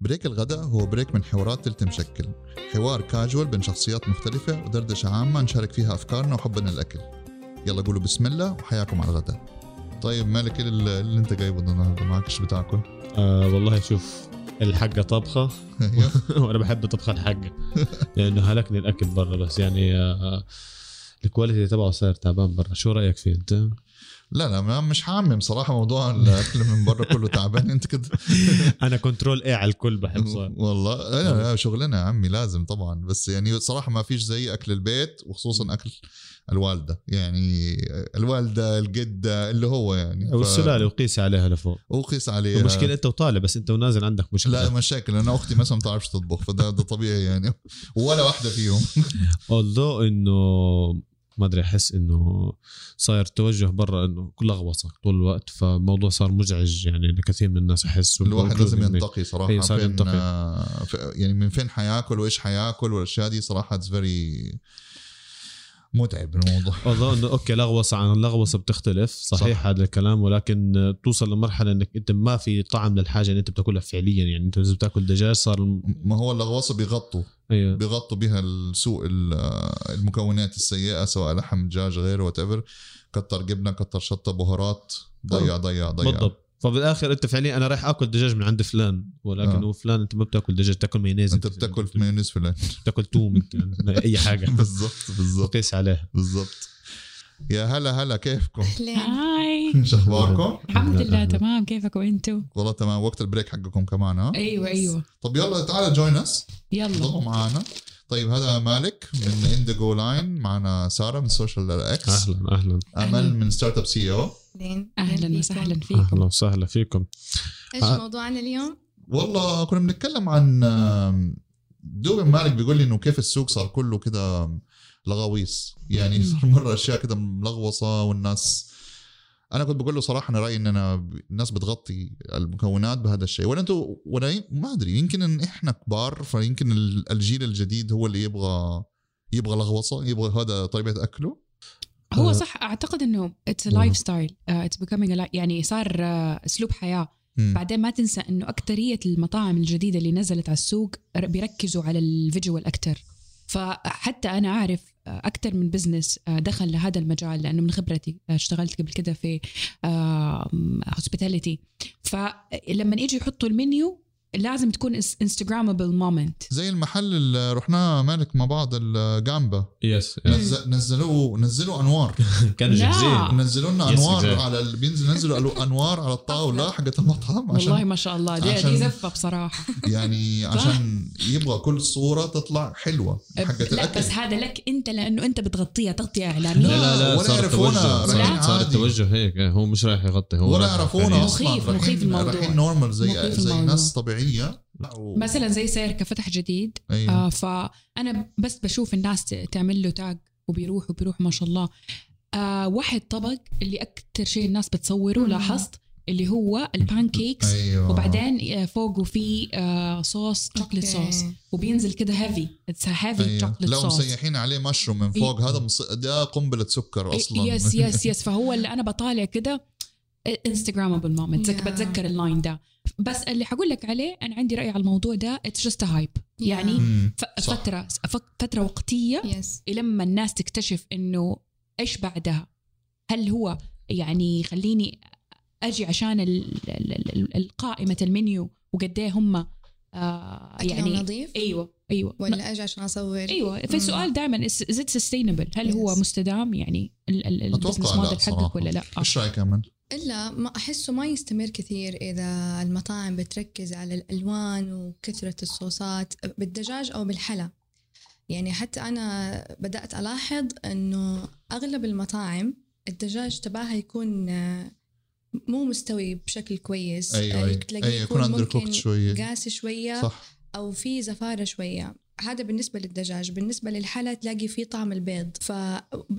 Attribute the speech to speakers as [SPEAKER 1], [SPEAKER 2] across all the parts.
[SPEAKER 1] بريك الغداء هو بريك من حوارات تلت مشكل حوار كاجوال بين شخصيات مختلفة ودردشة عامة نشارك فيها أفكارنا وحبنا للأكل يلا قولوا بسم الله وحياكم على الغداء طيب مالك إيه اللي اللي انت جايبه ده النهارده معك ايش بتاكل
[SPEAKER 2] آه والله شوف الحقة طبخة وانا بحب طبخ الحقة لانه هلكني الاكل برا بس يعني آه الكواليتي تبعه صار تعبان برا شو رايك فيه انت؟
[SPEAKER 1] لا لا ما- مش حامم صراحة موضوع الأكل من برا كله تعبان انت كده
[SPEAKER 2] انا كنترول ايه على الكل بحب صار
[SPEAKER 1] والله لا لا شغلنا يا عمي لازم طبعا بس يعني صراحه ما فيش زي اكل البيت وخصوصا اكل الوالده يعني الوالده الجده اللي هو يعني ف-
[SPEAKER 2] والسلاله وقيسي عليها لفوق
[SPEAKER 1] وقيس عليها
[SPEAKER 2] المشكله انت وطالع بس انت ونازل عندك
[SPEAKER 1] لا
[SPEAKER 2] مشكله
[SPEAKER 1] مشاكل انا اختي مثلا ما بتعرفش تطبخ فده ده طبيعي يعني ولا واحده فيهم
[SPEAKER 2] اولدو انه ما ادري احس انه صاير توجه برا انه كل لغوصه طول الوقت فالموضوع صار مزعج يعني لكثير من الناس احس
[SPEAKER 1] الواحد لازم
[SPEAKER 2] including me.
[SPEAKER 1] ينتقي صراحه
[SPEAKER 2] إيه، صار
[SPEAKER 1] فين
[SPEAKER 2] ينتقي.
[SPEAKER 1] آه، ف- يعني من فين حياكل وايش حياكل والاشياء دي صراحه اتس فيري متعب الموضوع
[SPEAKER 2] والله انه اوكي لغوصه عن لغوصه بتختلف صحيح
[SPEAKER 1] صح.
[SPEAKER 2] صح. هذا الكلام ولكن توصل لمرحله انك انت ما في طعم للحاجه اللي انت بتاكلها فعليا يعني انت اذا بتاكل دجاج صار الم-
[SPEAKER 1] ما هو اللغوصه بيغطوا
[SPEAKER 2] ايوه
[SPEAKER 1] بيغطوا بها السوق ال- آه، المكونات السيئه سواء لحم دجاج غيره وات ايفر كتر جبنه كتر شطه بهارات ضيع ضيع ضيع
[SPEAKER 2] بالضبط فبالاخر انت فعليا انا رايح اكل دجاج من عند فلان ولكن
[SPEAKER 1] آه.
[SPEAKER 2] هو فلان انت ما بتاكل دجاج بتاكل مايونيز
[SPEAKER 1] انت بتاكل في مايونيز فلان
[SPEAKER 2] بتاكل توم أنت، يعني اي حاجه
[SPEAKER 1] بالضبط بالضبط
[SPEAKER 2] قيس عليها
[SPEAKER 1] بالضبط يا هلا هلا كيفكم؟
[SPEAKER 3] أهلين
[SPEAKER 4] هاي
[SPEAKER 1] شو اخباركم؟
[SPEAKER 4] الحمد لله تمام كيفكم انتم
[SPEAKER 1] والله تمام وقت البريك حقكم كمان ها؟
[SPEAKER 4] ايوه ايوه
[SPEAKER 1] طب يلا تعال جوين اس
[SPEAKER 4] يلا
[SPEAKER 1] ضلوا معانا طيب هذا مالك من اندجو لاين معنا ساره من سوشيال اكس
[SPEAKER 2] اهلا اهلا
[SPEAKER 1] امل من E ستارت اب سي او
[SPEAKER 3] أهلين
[SPEAKER 4] اهلا
[SPEAKER 3] أهلين
[SPEAKER 4] وسهلا
[SPEAKER 3] فيكم.
[SPEAKER 4] فيكم
[SPEAKER 2] اهلا وسهلا فيكم
[SPEAKER 3] ايش
[SPEAKER 2] آه.
[SPEAKER 3] موضوعنا اليوم؟
[SPEAKER 1] والله كنا بنتكلم عن آم، دوبن مالك بيقول لي انه كيف السوق صار كله كده لغاويص يعني صار مره اشياء كده ملغوصه والناس انا كنت بقول له صراحه انا رايي ان انا ب- الناس بتغطي المكونات بهذا الشيء ولا انتوا ولا ي- ما ادري يمكن ان احنا كبار فيمكن ال- الجيل الجديد هو اللي يبغى يبغى لغوصه يبغى هذا طريقه اكله
[SPEAKER 4] هو
[SPEAKER 2] آه.
[SPEAKER 4] صح اعتقد انه اتس
[SPEAKER 2] مم.
[SPEAKER 4] لايف ستايل اتس بيكامينج يعني صار آه، اسلوب حياه
[SPEAKER 1] مم.
[SPEAKER 4] بعدين ما تنسى انه اكثريه المطاعم الجديده اللي نزلت على السوق ر- بيركزوا على الفيجوال اكثر فحتى انا اعرف اكثر من بزنس دخل لهذا المجال لانه من خبرتي آه، اشتغلت قبل كده في هوسبيتاليتي فلما يجي يحطوا المنيو لازم تكون انستغرامبل مومنت
[SPEAKER 1] زي المحل اللي رحناه مالك مع بعض الجامبا
[SPEAKER 2] يس
[SPEAKER 1] نز- نزلوه نزلوا انوار
[SPEAKER 2] كانوا
[SPEAKER 4] لا.
[SPEAKER 2] جاهزين
[SPEAKER 1] نزلوا لنا
[SPEAKER 2] آه. Yes,
[SPEAKER 1] انوار
[SPEAKER 2] exactly.
[SPEAKER 1] على ال- بينزل نزلوا قالوا انوار على الطاوله حقت المطعم
[SPEAKER 4] والله
[SPEAKER 1] عشان
[SPEAKER 4] ما شاء الله دي,
[SPEAKER 1] عشان-
[SPEAKER 4] دي زفه بصراحه
[SPEAKER 1] يعني عشان يبغى كل صوره تطلع حلوه حقت
[SPEAKER 4] لا
[SPEAKER 1] الاكل
[SPEAKER 4] بس هذا لك انت لانه انت بتغطيها تغطيه
[SPEAKER 2] لا
[SPEAKER 4] اعلاميه
[SPEAKER 2] لا لا
[SPEAKER 1] ولا
[SPEAKER 2] صار
[SPEAKER 1] يعرفونا،
[SPEAKER 2] التوجه
[SPEAKER 1] رايحين
[SPEAKER 2] صار, صار
[SPEAKER 1] عادي.
[SPEAKER 2] التوجه هيك إيه، هو مش رايح يغطي هو
[SPEAKER 1] ولا
[SPEAKER 2] رايح
[SPEAKER 1] يعرفونا
[SPEAKER 2] يعني-
[SPEAKER 1] اصلا
[SPEAKER 4] مخيف-
[SPEAKER 1] رايحين-
[SPEAKER 4] مخيف الموضوع.
[SPEAKER 1] رايحين نورمال زي
[SPEAKER 4] مخيف
[SPEAKER 1] زي
[SPEAKER 4] الموضوع.
[SPEAKER 1] ناس أيوه. طبيعيه و-
[SPEAKER 4] مثلا زي سيركا فتح جديد
[SPEAKER 1] أيوة.
[SPEAKER 4] آه فانا بس بشوف الناس ت- تعمل له تاج وبيروح وبيروح ما شاء الله آه واحد طبق اللي اكثر شيء الناس بتصوره
[SPEAKER 3] مم.
[SPEAKER 4] لاحظت اللي هو البانكيكس
[SPEAKER 1] ايوه
[SPEAKER 4] وبعدين آه، فوقه في آه صوص شوكليت
[SPEAKER 3] أوكي.
[SPEAKER 4] صوص وبينزل كده هيفي اتس هيفي
[SPEAKER 1] أيوة.
[SPEAKER 4] شوكليت
[SPEAKER 1] لو
[SPEAKER 4] صوص
[SPEAKER 1] مسيحين عليه مشروم
[SPEAKER 4] إيه.
[SPEAKER 1] من فوق هذا مص... ده قنبله سكر اصلا
[SPEAKER 4] يس يس يس فهو اللي انا بطالع كده آه، انستغرامبل مومنت
[SPEAKER 3] Yeah.
[SPEAKER 4] بتذكر اللاين ده بس اللي حقول لك عليه انا عندي راي على الموضوع ده اتس جاست هايب يعني
[SPEAKER 1] مم.
[SPEAKER 4] ف-
[SPEAKER 1] صح.
[SPEAKER 4] فتره فك- فتره وقتيه
[SPEAKER 3] يس
[SPEAKER 4] لما الناس تكتشف انه ايش بعدها هل هو يعني خليني اجي عشان ال- ال- ال- ال- قائمه المنيو وقد ايه هم آه
[SPEAKER 3] يعني
[SPEAKER 4] يعني
[SPEAKER 3] نظيف
[SPEAKER 4] ايوه ايوه
[SPEAKER 3] ولا اجي عشان اصور؟
[SPEAKER 4] ايوه
[SPEAKER 3] مم.
[SPEAKER 4] فالسؤال دائما از ات سستينبل هل هو
[SPEAKER 3] Yes.
[SPEAKER 4] مستدام يعني ال- ال- البزنس
[SPEAKER 1] اتوقع لا
[SPEAKER 4] موديل حقك
[SPEAKER 1] صراحه
[SPEAKER 4] ولا لا آه.
[SPEAKER 1] ايش رايك امل؟
[SPEAKER 3] الا ما احسه ما يستمر كثير اذا المطاعم بتركز على الالوان وكثره الصوصات بالدجاج او بالحلا يعني حتى انا بدات الاحظ انه اغلب المطاعم الدجاج تبعها يكون آه، مو مستوي بشكل كويس
[SPEAKER 1] ايوه
[SPEAKER 3] آه،
[SPEAKER 4] إيه،
[SPEAKER 1] ايوه
[SPEAKER 3] تلاقيه
[SPEAKER 1] أيوة، يكون اندر
[SPEAKER 3] ممكن
[SPEAKER 1] كوكت شويه
[SPEAKER 3] قاسي شويه
[SPEAKER 1] صح
[SPEAKER 3] او في زفاره شويه هذا بالنسبه للدجاج بالنسبه للحلا تلاقي فيه طعم البيض ف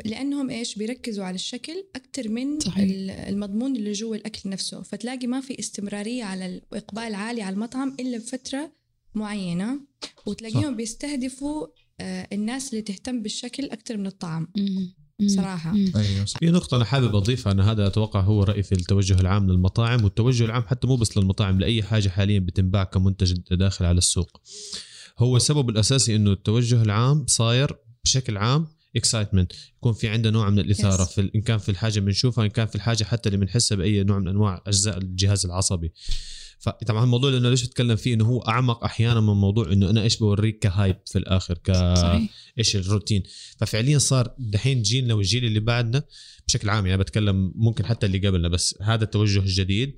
[SPEAKER 3] لانهم ايش بيركزوا على الشكل اكثر من
[SPEAKER 4] صحيح.
[SPEAKER 3] ال- المضمون اللي جوا الاكل نفسه فتلاقي ما في استمراريه على ال- واقبال عالي على المطعم الا بفتره معينه وتلاقيهم بيستهدفوا آه، الناس اللي تهتم بالشكل اكثر من الطعم
[SPEAKER 4] مم. مم.
[SPEAKER 3] صراحة.
[SPEAKER 4] مم.
[SPEAKER 1] ايوه صح
[SPEAKER 2] في نقطة أنا حابب أضيفها أنا هذا أتوقع هو رأيي في التوجه العام للمطاعم والتوجه العام حتى مو بس للمطاعم لأي حاجة حاليا بتنباع كمنتج داخل على السوق هو السبب الأساسي إنه التوجه العام صاير بشكل عام اكسايتمنت يكون في عندنا نوع من الاثاره
[SPEAKER 3] Yes.
[SPEAKER 2] في ال- ان كان في الحاجه بنشوفها ان كان في الحاجه حتى اللي بنحسها باي نوع من انواع اجزاء الجهاز العصبي فطبعا الموضوع اللي انا ليش اتكلم فيه انه هو اعمق احيانا من موضوع انه انا ايش بوريك كهايب في الاخر ك
[SPEAKER 1] آه،
[SPEAKER 4] صحيح
[SPEAKER 2] ايش الروتين ففعليا صار دحين جيلنا والجيل اللي بعدنا بشكل عام يعني بتكلم ممكن حتى اللي قبلنا بس هذا التوجه الجديد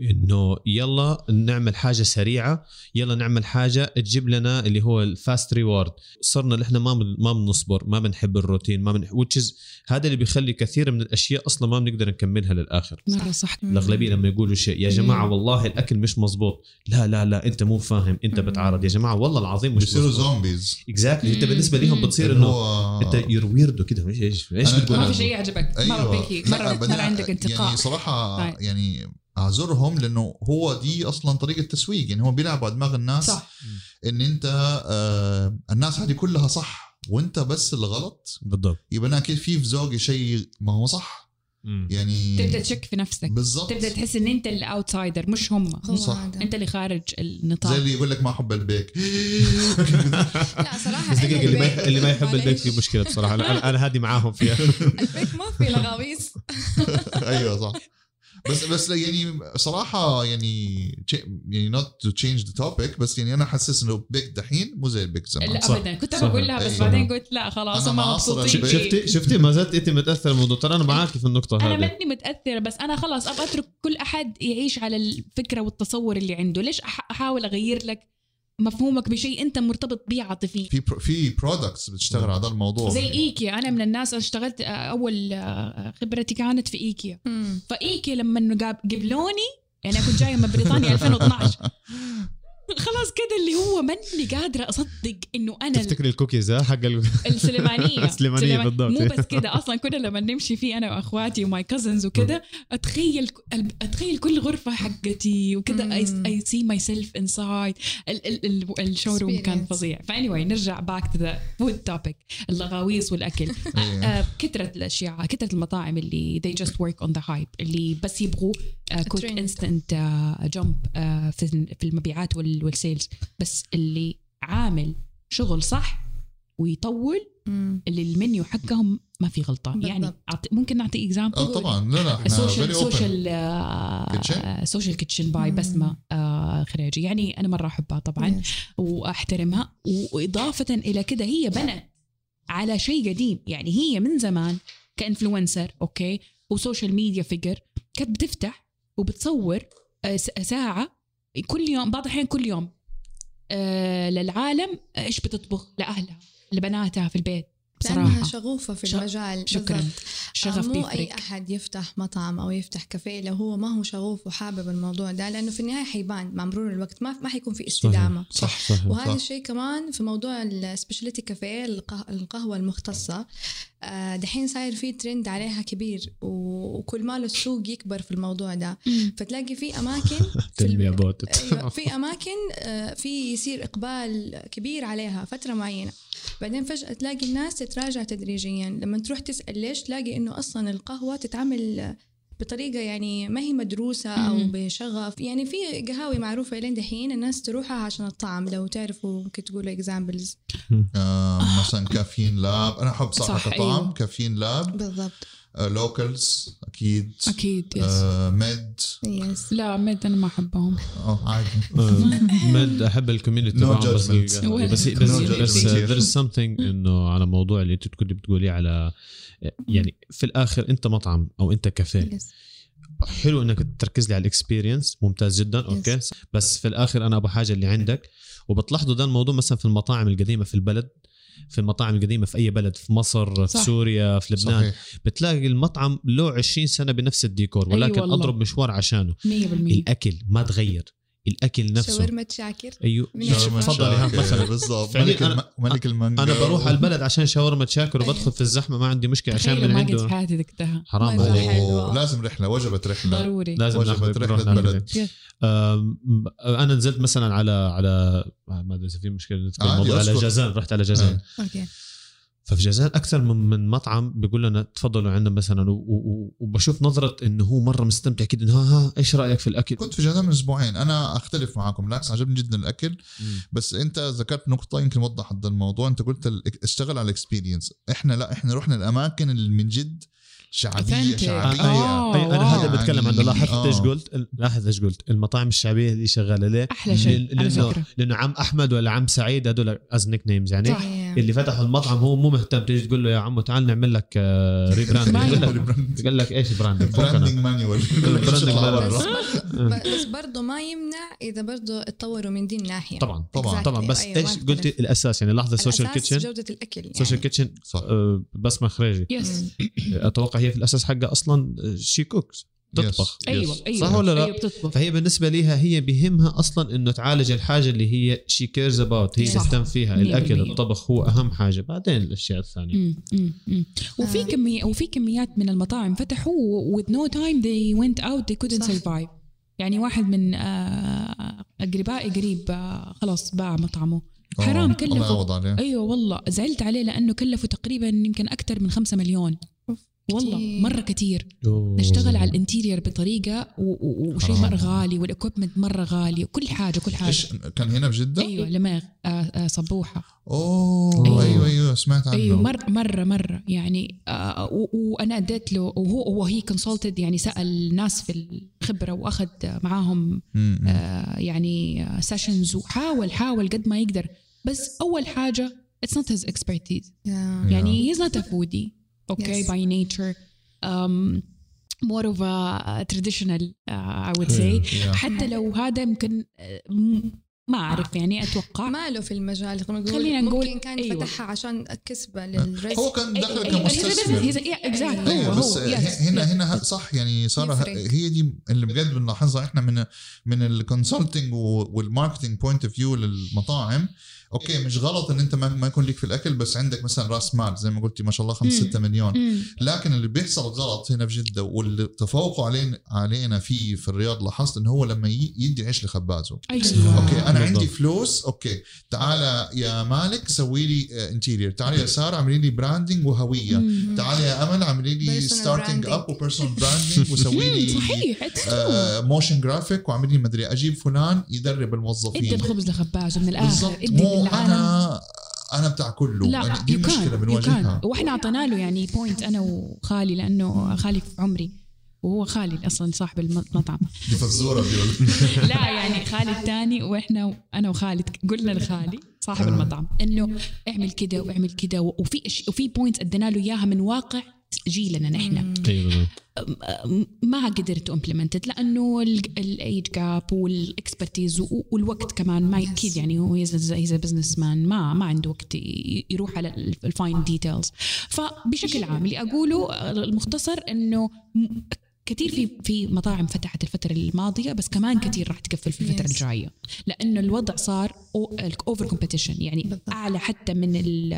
[SPEAKER 2] انه يلا نعمل حاجه سريعه يلا نعمل حاجه تجيب لنا اللي هو الفاست ريورد صرنا اللي احنا ما بن- ما بنصبر ما بنحب الروتين ما بن وتشز هذا اللي بيخلي كثير من الاشياء اصلا ما بنقدر نكملها للاخر
[SPEAKER 4] مره صح
[SPEAKER 2] الاغلبيه لما يقولوا شيء يا جماعه
[SPEAKER 4] مم.
[SPEAKER 2] والله الاكل مش مزبوط لا لا لا انت مو فاهم انت
[SPEAKER 3] مم.
[SPEAKER 2] بتعارض يا جماعه والله العظيم مش
[SPEAKER 1] بيصيروا
[SPEAKER 2] مزبوط
[SPEAKER 1] زومبيز
[SPEAKER 2] اكزاكتلي انت
[SPEAKER 4] مم.
[SPEAKER 2] بالنسبه لهم
[SPEAKER 4] مم.
[SPEAKER 2] بتصير
[SPEAKER 1] اللي
[SPEAKER 2] انه
[SPEAKER 1] هو-
[SPEAKER 2] انت يور ويردو كده ايش ايش ايش
[SPEAKER 1] أنا-
[SPEAKER 2] بتقول
[SPEAKER 1] أنا-
[SPEAKER 4] ما في شيء يعجبك مره بيكي
[SPEAKER 1] أيوة. لا،
[SPEAKER 4] مره
[SPEAKER 1] بدأ-
[SPEAKER 4] مره عندك انتقاء
[SPEAKER 1] يعني صراحه
[SPEAKER 4] طيب.
[SPEAKER 1] يعني اعذرهم لانه هو دي اصلا طريقه تسويق يعني هو بيلعب على دماغ الناس
[SPEAKER 4] صح
[SPEAKER 1] ان انت آه الناس هذه كلها صح وانت بس اللي غلط
[SPEAKER 2] بالضبط
[SPEAKER 1] يبقى انا اكيد في في ذوقي شيء ما هو صح يعني
[SPEAKER 4] تبدا تشك في نفسك
[SPEAKER 1] بالظبط
[SPEAKER 4] تبدا تحس ان انت الاوتسايدر مش هم
[SPEAKER 3] هو
[SPEAKER 1] صح.
[SPEAKER 3] هذا.
[SPEAKER 4] انت اللي خارج
[SPEAKER 1] زي
[SPEAKER 4] النطاق
[SPEAKER 1] اللي يقول لك ما احب البيك
[SPEAKER 3] لا صراحة
[SPEAKER 2] بس دقيقة اللي ما يح- اللي ما يحب
[SPEAKER 3] معليش.
[SPEAKER 2] البيك في مشكلة بصراحة أنا- أنا أنا هادي معاهم فيها
[SPEAKER 3] البيك ما في لغاويص
[SPEAKER 1] ايوه صح بس بس يعني صراحه يعني تش- يعني نوت تو تشينج ذا توبيك بس يعني انا حاسس انه بيك دحين مو زي البيك زمان
[SPEAKER 4] لا
[SPEAKER 2] صح.
[SPEAKER 4] ابدا كنت
[SPEAKER 2] صح.
[SPEAKER 4] بقول لها بس
[SPEAKER 1] أيوة.
[SPEAKER 4] بعدين قلت لا خلاص
[SPEAKER 1] أنا
[SPEAKER 4] هم
[SPEAKER 1] مع أصلاً
[SPEAKER 4] مبسوطين
[SPEAKER 1] شيء.
[SPEAKER 2] شفتي شفتي ما زلت أنت متأثر الموضوع ترى أنا معاكي في النقطة
[SPEAKER 4] انا
[SPEAKER 2] هذه
[SPEAKER 4] ماني متاثره بس انا خلاص ابغى اترك كل احد يعيش على الفكره والتصور اللي عنده ليش أح- احاول اغير لك مفهومك بشيء انت مرتبط بيه عاطفيا
[SPEAKER 1] في برو في برودكتس بتشتغل على هذا الموضوع
[SPEAKER 4] زي إيه؟ ايكيا انا من الناس اشتغلت آه، اول آه، خبرتي كانت في ايكيا فايكيا لما جاب- قبلوني يعني أنا كنت جايه من بريطانيا 2012 خلاص كده اللي هو ماني قادره اصدق انه انا
[SPEAKER 2] تفتكري الكوكيز ها حق ال-
[SPEAKER 4] السليمانيه
[SPEAKER 2] السليمانية
[SPEAKER 4] سليمان-
[SPEAKER 2] بالضبط.
[SPEAKER 4] مو بس كده اصلا كنا لما نمشي فيه انا واخواتي وماي كازنز وكده اتخيل ك- اتخيل كل غرفه حقتي وكده
[SPEAKER 3] مم.
[SPEAKER 4] اي سي ماي سيلف انسايد الشو روم كان
[SPEAKER 3] Experience.
[SPEAKER 4] فظيع فاني anyway, نرجع باك تو ذا فود توبيك اللغاويص والاكل
[SPEAKER 1] إيه.
[SPEAKER 4] آه، كثرة الاشياء كثرة المطاعم اللي they just work on the hype اللي بس يبغوا آه، كوت
[SPEAKER 3] Trend.
[SPEAKER 4] انستنت جمب آه، في في المبيعات وال- والسيلز بس اللي عامل شغل صح ويطول اللي المنيو حقهم ما في غلطه
[SPEAKER 3] بالضبط.
[SPEAKER 4] يعني أعطي- ممكن نعطي اكزامبل
[SPEAKER 1] اه طبعا لا لا احنا
[SPEAKER 4] سوشيال
[SPEAKER 1] very open.
[SPEAKER 4] سوشيال
[SPEAKER 1] Kitchen؟
[SPEAKER 4] سوشيال كيتشن باي
[SPEAKER 3] مم.
[SPEAKER 4] بسمه آه، خريجي يعني انا مره احبها طبعا واحترمها واضافه الى كده هي بنت على شيء قديم يعني هي من زمان كانفلونسر اوكي وسوشيال ميديا فيجر كانت بتفتح وبتصور آه، س- ساعه كل يوم بعض الاحيان كل يوم آه، للعالم آه، ايش بتطبخ لاهلها لبناتها في البيت
[SPEAKER 3] لأنها
[SPEAKER 4] بصراحه
[SPEAKER 3] شغوفة في
[SPEAKER 4] ش-
[SPEAKER 3] المجال
[SPEAKER 4] شكرا
[SPEAKER 3] بالضبط.
[SPEAKER 4] شغف طيب.
[SPEAKER 3] مو أي
[SPEAKER 4] بيفرق
[SPEAKER 3] أحد يفتح مطعم أو يفتح كافيه لو هو ما هو شغوف وحابب الموضوع ده لأنه في النهاية حيبان مع مرور الوقت ما ما حيكون في استدامة
[SPEAKER 2] صح صح
[SPEAKER 1] صح.
[SPEAKER 3] وهذا الشيء كمان في موضوع السبيشاليتي كافيه القه- القهوه المختصه آه، دحين صاير في ترند عليها كبير و- وكل ما له السوق يكبر في الموضوع ده
[SPEAKER 4] مم.
[SPEAKER 3] فتلاقي في اماكن في ال-
[SPEAKER 2] تلميع بوت
[SPEAKER 3] أيوة، في اماكن آه، في يصير اقبال كبير عليها فتره معينه بعدين فجاه تلاقي الناس تتراجع تدريجيا لما تروح تسال ليش تلاقي انه اصلا القهوه تتعمل بطريقة يعني ما هي مدروسة أو
[SPEAKER 4] مم.
[SPEAKER 3] بشغف يعني في قهاوي معروفة لين دحين الناس تروحها عشان الطعم لو تعرفوا ممكن تقولوا اكزامبلز
[SPEAKER 1] آه، مثلا كافيين لاب انا احب صح,
[SPEAKER 4] صح،
[SPEAKER 1] صح كطعم
[SPEAKER 4] أيوة.
[SPEAKER 1] أيوه. كافيين لاب
[SPEAKER 3] بالضبط
[SPEAKER 1] لوكلز اكيد
[SPEAKER 4] اكيد يس
[SPEAKER 1] آه ميد
[SPEAKER 3] يس
[SPEAKER 4] لا مد انا ما احبهم
[SPEAKER 1] اه عادي
[SPEAKER 2] آه. مد احب الكوميونتي
[SPEAKER 1] No
[SPEAKER 2] تبعهم بس
[SPEAKER 1] judgment.
[SPEAKER 2] بس
[SPEAKER 4] No
[SPEAKER 2] بس
[SPEAKER 1] judgment
[SPEAKER 2] بس
[SPEAKER 1] here.
[SPEAKER 2] there is something انه على موضوع اللي انت كنت بتقوليه على يعني في الاخر انت مطعم او انت كافيه
[SPEAKER 3] يس
[SPEAKER 2] حلو انك تركز لي على الاكسبيرينس ممتاز جدا اوكي
[SPEAKER 3] صح.
[SPEAKER 2] بس في الاخر انا ابغى حاجه اللي عندك وبتلاحظوا ده الموضوع مثلا في المطاعم القديمه في البلد في المطاعم القديمه في اي بلد في مصر في
[SPEAKER 4] صح.
[SPEAKER 2] سوريا في لبنان
[SPEAKER 1] صحيح
[SPEAKER 2] بتلاقي المطعم له 20 سنه بنفس الديكور
[SPEAKER 4] أي
[SPEAKER 2] ولكن
[SPEAKER 4] أيوة والله. إيه.
[SPEAKER 2] اضرب مشوار عشانه
[SPEAKER 4] 100%
[SPEAKER 2] الاكل ما تغير الاكل نفسه
[SPEAKER 3] شاورما شاكر
[SPEAKER 2] ايوه
[SPEAKER 3] من
[SPEAKER 1] شاورما
[SPEAKER 3] الشباب.
[SPEAKER 2] تفضلي ها
[SPEAKER 1] شاكر،
[SPEAKER 2] مثلا
[SPEAKER 1] إيه، بالضبط
[SPEAKER 2] فعلياً
[SPEAKER 1] ملك,
[SPEAKER 2] يعني أنا-
[SPEAKER 1] الم... ملك المانجا
[SPEAKER 2] انا بروح على البلد عشان شاورما شاكر وبدخل
[SPEAKER 3] أيوة.
[SPEAKER 2] في الزحمه ما عندي مشكله عشان
[SPEAKER 4] تخيل
[SPEAKER 2] من
[SPEAKER 4] ما قد في
[SPEAKER 2] عنده
[SPEAKER 4] حياتي ذقتها
[SPEAKER 2] حرام
[SPEAKER 3] ما
[SPEAKER 2] عليك
[SPEAKER 3] يروح. حلوة.
[SPEAKER 1] اوه لازم رحله وجبه رحله
[SPEAKER 4] أيوة، ضروري
[SPEAKER 2] لازم
[SPEAKER 1] وجبة
[SPEAKER 2] ناخذ
[SPEAKER 1] رحلة
[SPEAKER 2] نروح ناخذ
[SPEAKER 1] بلد.
[SPEAKER 2] بلد. أم، انا نزلت مثلا على على ما ادري إذا في مشكله نتكلم
[SPEAKER 1] عادي،
[SPEAKER 2] الموضوع على
[SPEAKER 1] أذكر. آه.
[SPEAKER 2] جازان رحت على جازان
[SPEAKER 1] أي.
[SPEAKER 3] اوكي
[SPEAKER 2] ففي جازان اكثر من من مطعم بيقول لنا تفضلوا عندنا مثلا و- و- وبشوف نظره انه هو مره مستمتع كده إنه ها ها ايش رايك في الاكل؟
[SPEAKER 1] كنت في جازان من اسبوعين انا اختلف معاكم بالعكس عجبني جدا الاكل بس انت ذكرت نقطه يمكن وضحت هذا الموضوع انت قلت ال- اشتغل على الاكسبيرينس احنا لا احنا رحنا الاماكن اللي من جد شعبيه
[SPEAKER 4] Authentic.
[SPEAKER 1] شعبيه
[SPEAKER 2] آه،
[SPEAKER 4] آه،
[SPEAKER 2] أي انا
[SPEAKER 4] واو.
[SPEAKER 2] هذا بتكلم عنه لاحظت
[SPEAKER 1] آه.
[SPEAKER 2] ايش قلت؟ لاحظ ايش قلت؟ المطاعم الشعبيه اللي شغاله ليه؟
[SPEAKER 4] احلى شيء
[SPEAKER 2] لأن-
[SPEAKER 4] على
[SPEAKER 2] لأنه-
[SPEAKER 4] فكره
[SPEAKER 2] لانه عم احمد ولا عم سعيد هذول از نيك نيمز يعني
[SPEAKER 4] صح.
[SPEAKER 3] إيه.
[SPEAKER 2] اللي فتحوا المطعم هو مو مهتم تيجي تقول له يا عمو تعال نعمل لك ريبراند يقول لك يقول لك ايش براند
[SPEAKER 1] براندنج مانيوال
[SPEAKER 2] البراندنج
[SPEAKER 3] بس,
[SPEAKER 2] مانيوال.
[SPEAKER 3] برضو بس برضه ما يمنع اذا برضه اتطوروا من دي الناحيه
[SPEAKER 2] طبعا
[SPEAKER 1] طبعا.
[SPEAKER 2] طبعا بس
[SPEAKER 3] أيوة،
[SPEAKER 2] ايش
[SPEAKER 3] ما
[SPEAKER 2] قلت
[SPEAKER 3] اختلف.
[SPEAKER 2] الاساس يعني لحظه سوشيال
[SPEAKER 3] الأساس
[SPEAKER 2] كيتشن
[SPEAKER 3] جوده الاكل يعني
[SPEAKER 2] سوشيال كيتشن
[SPEAKER 1] صح
[SPEAKER 2] بسمه آه، خريجي
[SPEAKER 4] يس
[SPEAKER 3] مم.
[SPEAKER 2] اتوقع هي في الاساس حقها اصلا شي كوكس تطبخ
[SPEAKER 1] Yes.
[SPEAKER 4] ايوه ايوه
[SPEAKER 2] صح ولا لا؟
[SPEAKER 4] ايوه بتطبخ
[SPEAKER 2] فهي بالنسبه ليها هي بيهمها اصلا انه تعالج الحاجه اللي هي شي كيرز اباوت هي
[SPEAKER 4] صح.
[SPEAKER 2] تهتم فيها الاكل
[SPEAKER 4] 100%.
[SPEAKER 2] الطبخ هو اهم حاجه بعدين الاشياء الثانيه
[SPEAKER 4] مم، مم، مم. وفي
[SPEAKER 3] آه.
[SPEAKER 4] كمية وفي كميات من المطاعم فتحوا with no time they went out they couldn't
[SPEAKER 3] صح.
[SPEAKER 4] survive يعني واحد من آه، اقربائي قريب آه، خلاص باع مطعمه
[SPEAKER 1] آه،
[SPEAKER 4] حرام
[SPEAKER 1] الله
[SPEAKER 4] كلفه
[SPEAKER 1] يعوض عليه
[SPEAKER 4] ايوه والله زعلت عليه لانه كلفه تقريبا يمكن اكثر من خمسة مليون
[SPEAKER 3] أوف،
[SPEAKER 4] والله
[SPEAKER 3] كتير.
[SPEAKER 4] مره كتير اشتغل على الانتيرير بطريقه و- و- وشيء
[SPEAKER 1] حرام.
[SPEAKER 4] مره غالي والاكوبمنت مره غالي وكل حاجه كل حاجه
[SPEAKER 1] ايش كان هنا في جده؟
[SPEAKER 4] ايوه لماغ آه، آه، صبوحه
[SPEAKER 1] اوه
[SPEAKER 2] أيوة.
[SPEAKER 1] ايوه ايوه سمعت عنه
[SPEAKER 4] ايوه مره مره مره يعني آه و- وانا اديت له وهو وهي كونسلتد يعني سال ناس في الخبره واخذ معاهم
[SPEAKER 1] مم.
[SPEAKER 4] آه يعني سيشنز وحاول حاول قد ما يقدر بس اول حاجه اتس نوت هيز اكسبرتيز
[SPEAKER 3] يا-
[SPEAKER 4] يعني هيز نوت ا فودي اوكي
[SPEAKER 3] Yes.
[SPEAKER 4] باي نيتشر Um, more of a traditional uh, I would say
[SPEAKER 1] Yeah.
[SPEAKER 4] حتى لو هذا يمكن آه، م- ما اعرف يعني اتوقع
[SPEAKER 3] ماله في المجال خلينا نقول
[SPEAKER 4] خلينا
[SPEAKER 3] خلينا
[SPEAKER 4] نقول
[SPEAKER 3] نقول ممكن كان
[SPEAKER 4] أيوة.
[SPEAKER 3] أيوة. فتحها عشان كسبه للرزق
[SPEAKER 1] هو كان دخله
[SPEAKER 4] أيوة، he's a business.
[SPEAKER 1] كمستثمر
[SPEAKER 4] He's a- yeah, exactly.
[SPEAKER 1] ايوه
[SPEAKER 4] هو-
[SPEAKER 1] بس
[SPEAKER 4] هو- yes,
[SPEAKER 1] هنا
[SPEAKER 4] yes.
[SPEAKER 1] هنا ه- صح يعني صار ه-
[SPEAKER 3] يفرق.
[SPEAKER 1] هي دي اللي بجد بنلاحظها احنا من من الكونسلتنج والماركتنج بوينت اوف فيو للمطاعم اوكي مش غلط ان انت ما ما يكون ليك في الاكل بس عندك مثلا راس مال زي ما قلتي ما شاء الله 5
[SPEAKER 4] مم.
[SPEAKER 1] 6 مليون
[SPEAKER 4] مم.
[SPEAKER 1] لكن اللي بيحصل غلط هنا في جده واللي تفوقوا علينا علينا فيه في الرياض لاحظت ان هو لما ي- يدي عيش لخبازه
[SPEAKER 4] ايوه
[SPEAKER 1] اوكي انا
[SPEAKER 2] بالضبط.
[SPEAKER 1] عندي فلوس اوكي تعال يا مالك سوي لي انتيرير تعال يا ساره اعملي لي براندنج وهويه
[SPEAKER 4] مم.
[SPEAKER 1] تعالي يا امل اعملي لي
[SPEAKER 3] Personal
[SPEAKER 1] ستارتنج اب
[SPEAKER 3] branding.
[SPEAKER 1] وبيرسونال براندنج وسوي
[SPEAKER 4] مم،
[SPEAKER 1] لي uh,
[SPEAKER 4] صحيح it's true.
[SPEAKER 1] آه، موشن جرافيك واعملي لي مدري اجيب فلان يدرب
[SPEAKER 4] ادي
[SPEAKER 1] الموظفين
[SPEAKER 4] الخبز لخبازه من الاخر
[SPEAKER 1] بالضبط
[SPEAKER 4] ادي
[SPEAKER 1] مو
[SPEAKER 4] للعالم
[SPEAKER 1] انا انا بتاع كله
[SPEAKER 4] لا
[SPEAKER 1] يعني دي
[SPEAKER 4] you
[SPEAKER 1] مشكله
[SPEAKER 4] can't, you
[SPEAKER 1] بنواجهها
[SPEAKER 4] can't. واحنا اعطينا له يعني بوينت انا وخالي لانه خالي في عمري وهو خالي اصلا صاحب المطعم
[SPEAKER 1] دي فزوره بيقول
[SPEAKER 4] لا يعني خالي الثاني واحنا انا وخالد قلنا لخالي صاحب
[SPEAKER 1] آه.
[SPEAKER 4] المطعم انه اعمل كده واعمل كده وفي أش- وفي بوينتس ادينا له اياها من واقع جيلنا نحن
[SPEAKER 2] ايوه
[SPEAKER 4] ما قدرت امبلمنتد لانه الايج جاب والاكسبرتيز والوقت كمان ما اكيد يعني هو هيز بزنس مان ما ما عنده وقت ي- يروح على ال- الفاين ديتيلز فبشكل عام اللي اقوله المختصر انه م- كثير في في مطاعم فتحت الفتره الماضيه بس كمان كثير راح تقفل في الفتره
[SPEAKER 3] Yes.
[SPEAKER 4] الجايه لانه الوضع صار اوفر كومبيتيشن يعني
[SPEAKER 3] بالضبط.
[SPEAKER 4] اعلى حتى من ال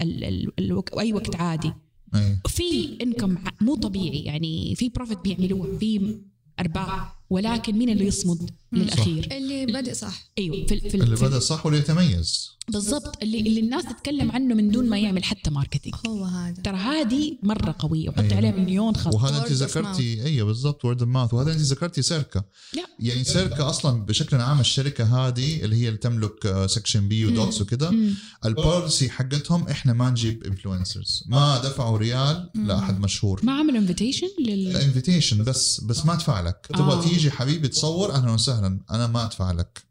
[SPEAKER 4] ال ال الوك- اي وقت عادي
[SPEAKER 1] إيه.
[SPEAKER 4] في انكم مو طبيعي يعني في بروفيت بيعملوه في ارباح ولكن مين اللي يصمد للاخير
[SPEAKER 3] اللي بادئ صح
[SPEAKER 4] ايوه في, ال- في, ال-
[SPEAKER 1] اللي
[SPEAKER 4] في ال-
[SPEAKER 1] بدا صح واللي يتميز
[SPEAKER 4] بالضبط اللي, اللي الناس تتكلم عنه من دون ما يعمل حتى ماركتينج
[SPEAKER 3] هو هذا
[SPEAKER 4] ترى هذه مره قويه وحط
[SPEAKER 1] أيوة.
[SPEAKER 4] عليها مليون خط
[SPEAKER 1] وهذا انت
[SPEAKER 3] Word of
[SPEAKER 1] ذكرتي ايوه بالضبط وورد اوف ماوث وهذا انت ذكرتي سيركا
[SPEAKER 4] لا.
[SPEAKER 1] يعني سيركا اصلا بشكل عام الشركه هذه اللي هي اللي تملك آه، سكشن بي ودوكس وكده
[SPEAKER 4] مم.
[SPEAKER 1] البوليسي حقتهم احنا ما نجيب انفلونسرز ما دفعوا ريال لاحد مشهور
[SPEAKER 4] آه. ما عملوا انفيتيشن
[SPEAKER 1] أيوة.
[SPEAKER 4] لل
[SPEAKER 1] انفيتيشن بس بس ما ادفع لك
[SPEAKER 4] آه.
[SPEAKER 1] تبغى تيجي حبيبي تصور اهلا وسهلا انا ما ادفع لك